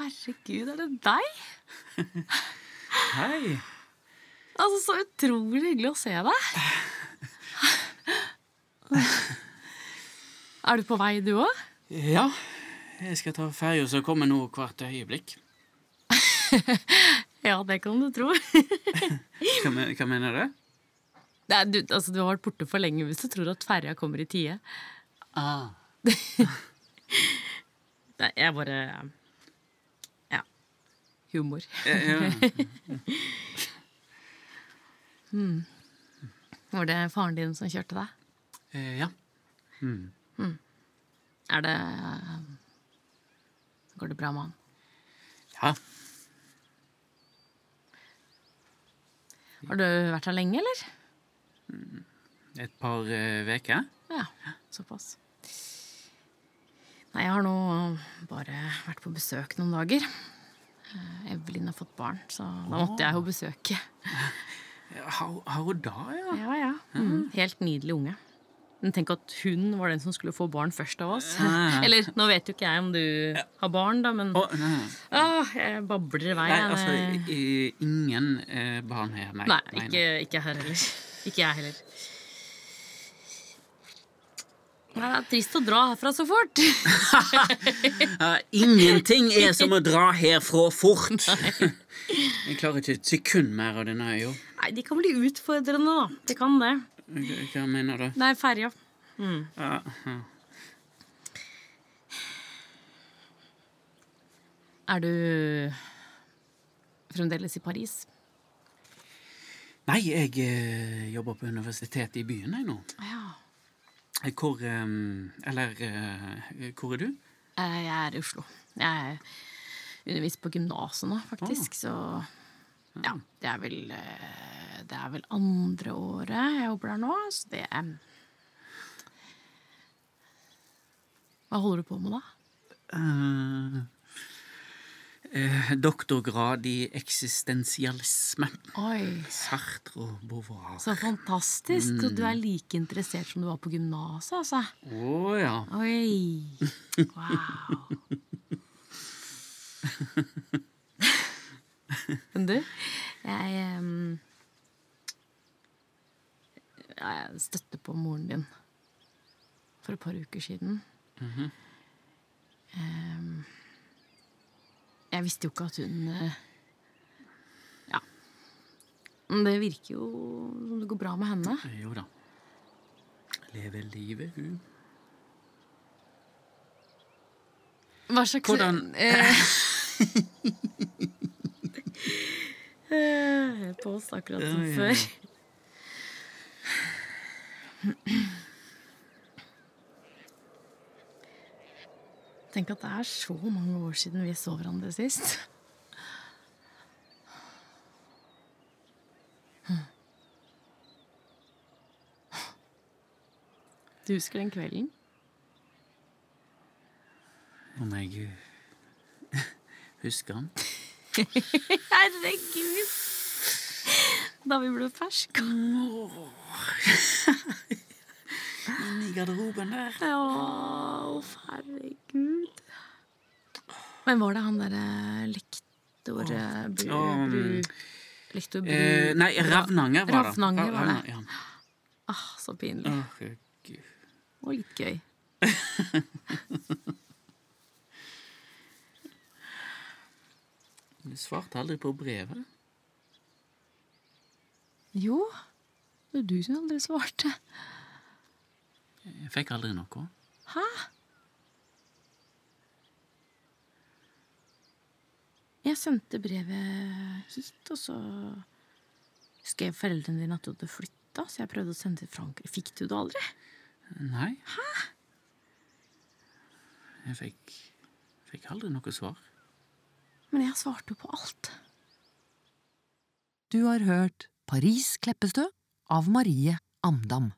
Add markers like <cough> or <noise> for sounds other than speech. Herregud, er det deg? Hei. Altså, Så utrolig hyggelig å se deg. Er du på vei, du òg? Ja, jeg skal ta ferja som kommer nå hvert øyeblikk. Ja, det kan du tro. Hva, men- hva mener du? Nei, du, altså, du har vært borte for lenge hvis du tror at ferja kommer i tide. Ah. Nei, jeg bare Ja. Humor. Eh, Ja, Var det faren din som kjørte deg? Eh, ja. Er det Går det bra med han? ja. Har du vært her lenge, eller? Et par eh, uker. Ja, såpass. Nei, jeg har nå bare vært på besøk noen dager. Eh, Evelyn har fått barn, så da måtte jeg jo besøke. Har har hun da, ja? Mm. Ja, ja. Mhm. Helt nydelig unge. Men tenk at hun var den som skulle få barn først av oss. Ja. <laughs> Eller, nå vet jo ikke jeg om du har barn, da, men Å, nei, Åh, jeg babler i vei. nei, jeg. altså, i- i- ingen eh, barn her, nei. Nei, ikke, ikke her heller. Ikke jeg heller. Nei, det er trist å dra herfra så fort. Ja, ingenting er som å dra herfra fort. Jeg klarer ikke et sekund mer av denne øya. Nei, de kan bli utfordrende, da. De kan det. Hva hva mener du? Nei, ferja. Mm. Ja, Er du fremdeles i Paris? Nei, jeg eh, jobber på universitetet i byen jeg nå. Ja. Eh, Hvor eh, Eller eh, hvor er du? Eh, Jeg er i Oslo. Jeg underviser på gymnaset nå, faktisk, så ja, det er vel eh, Det er vel andre året jeg jobber her nå, så det er Hva holder du på med da? Eh, eh, doktorgrad i eksistensialisme. Oi, Sartre og Beauvoir. så fantastisk. Så du er like interessert som du var på gymnaset, altså. Å ja. Oi. Wow. Men <laughs> du, jeg em, Jeg støtte på moren din for et par uker siden. Mhm. Em, jeg visste jo ikke at hun eh, Ja. Men det virker jo som det går bra med henne. Eh, Jo da. Lever livet, hun. Hva slags Hvordan- <laughs> Eh, På oss akkurat som Ja, ja, ja. før. Tenk at det er så mange år siden vi så hverandre sist. Du husker den kvelden? Om jeg eh, <laughs> husker han. Herregud! Da vi ble ferske. Inni garderoben der. Å, herregud. Men var det han derre lektor Bru... Åh, mm. bru lektor Bru Eh, nei, Ravnanger var det. Ravnanger var det. Ravna- ja. ah, Så pinlig. Åh, Gud. Og litt gøy. Du svarte aldri på brevet. Jo, det er du som aldri svarte. Jeg fikk aldri noe. Hæ? Jeg sendte brevet hit, og så skrev foreldrene dine at du hadde flytta, så jeg prøvde å sende til Frankrike. Fikk du det aldri? Nei. Hæ? Jeg fikk, fikk aldri noe svar. Men jeg svarte jo på alt. Du har hørt Paris Kleppestø av Marie Amdam.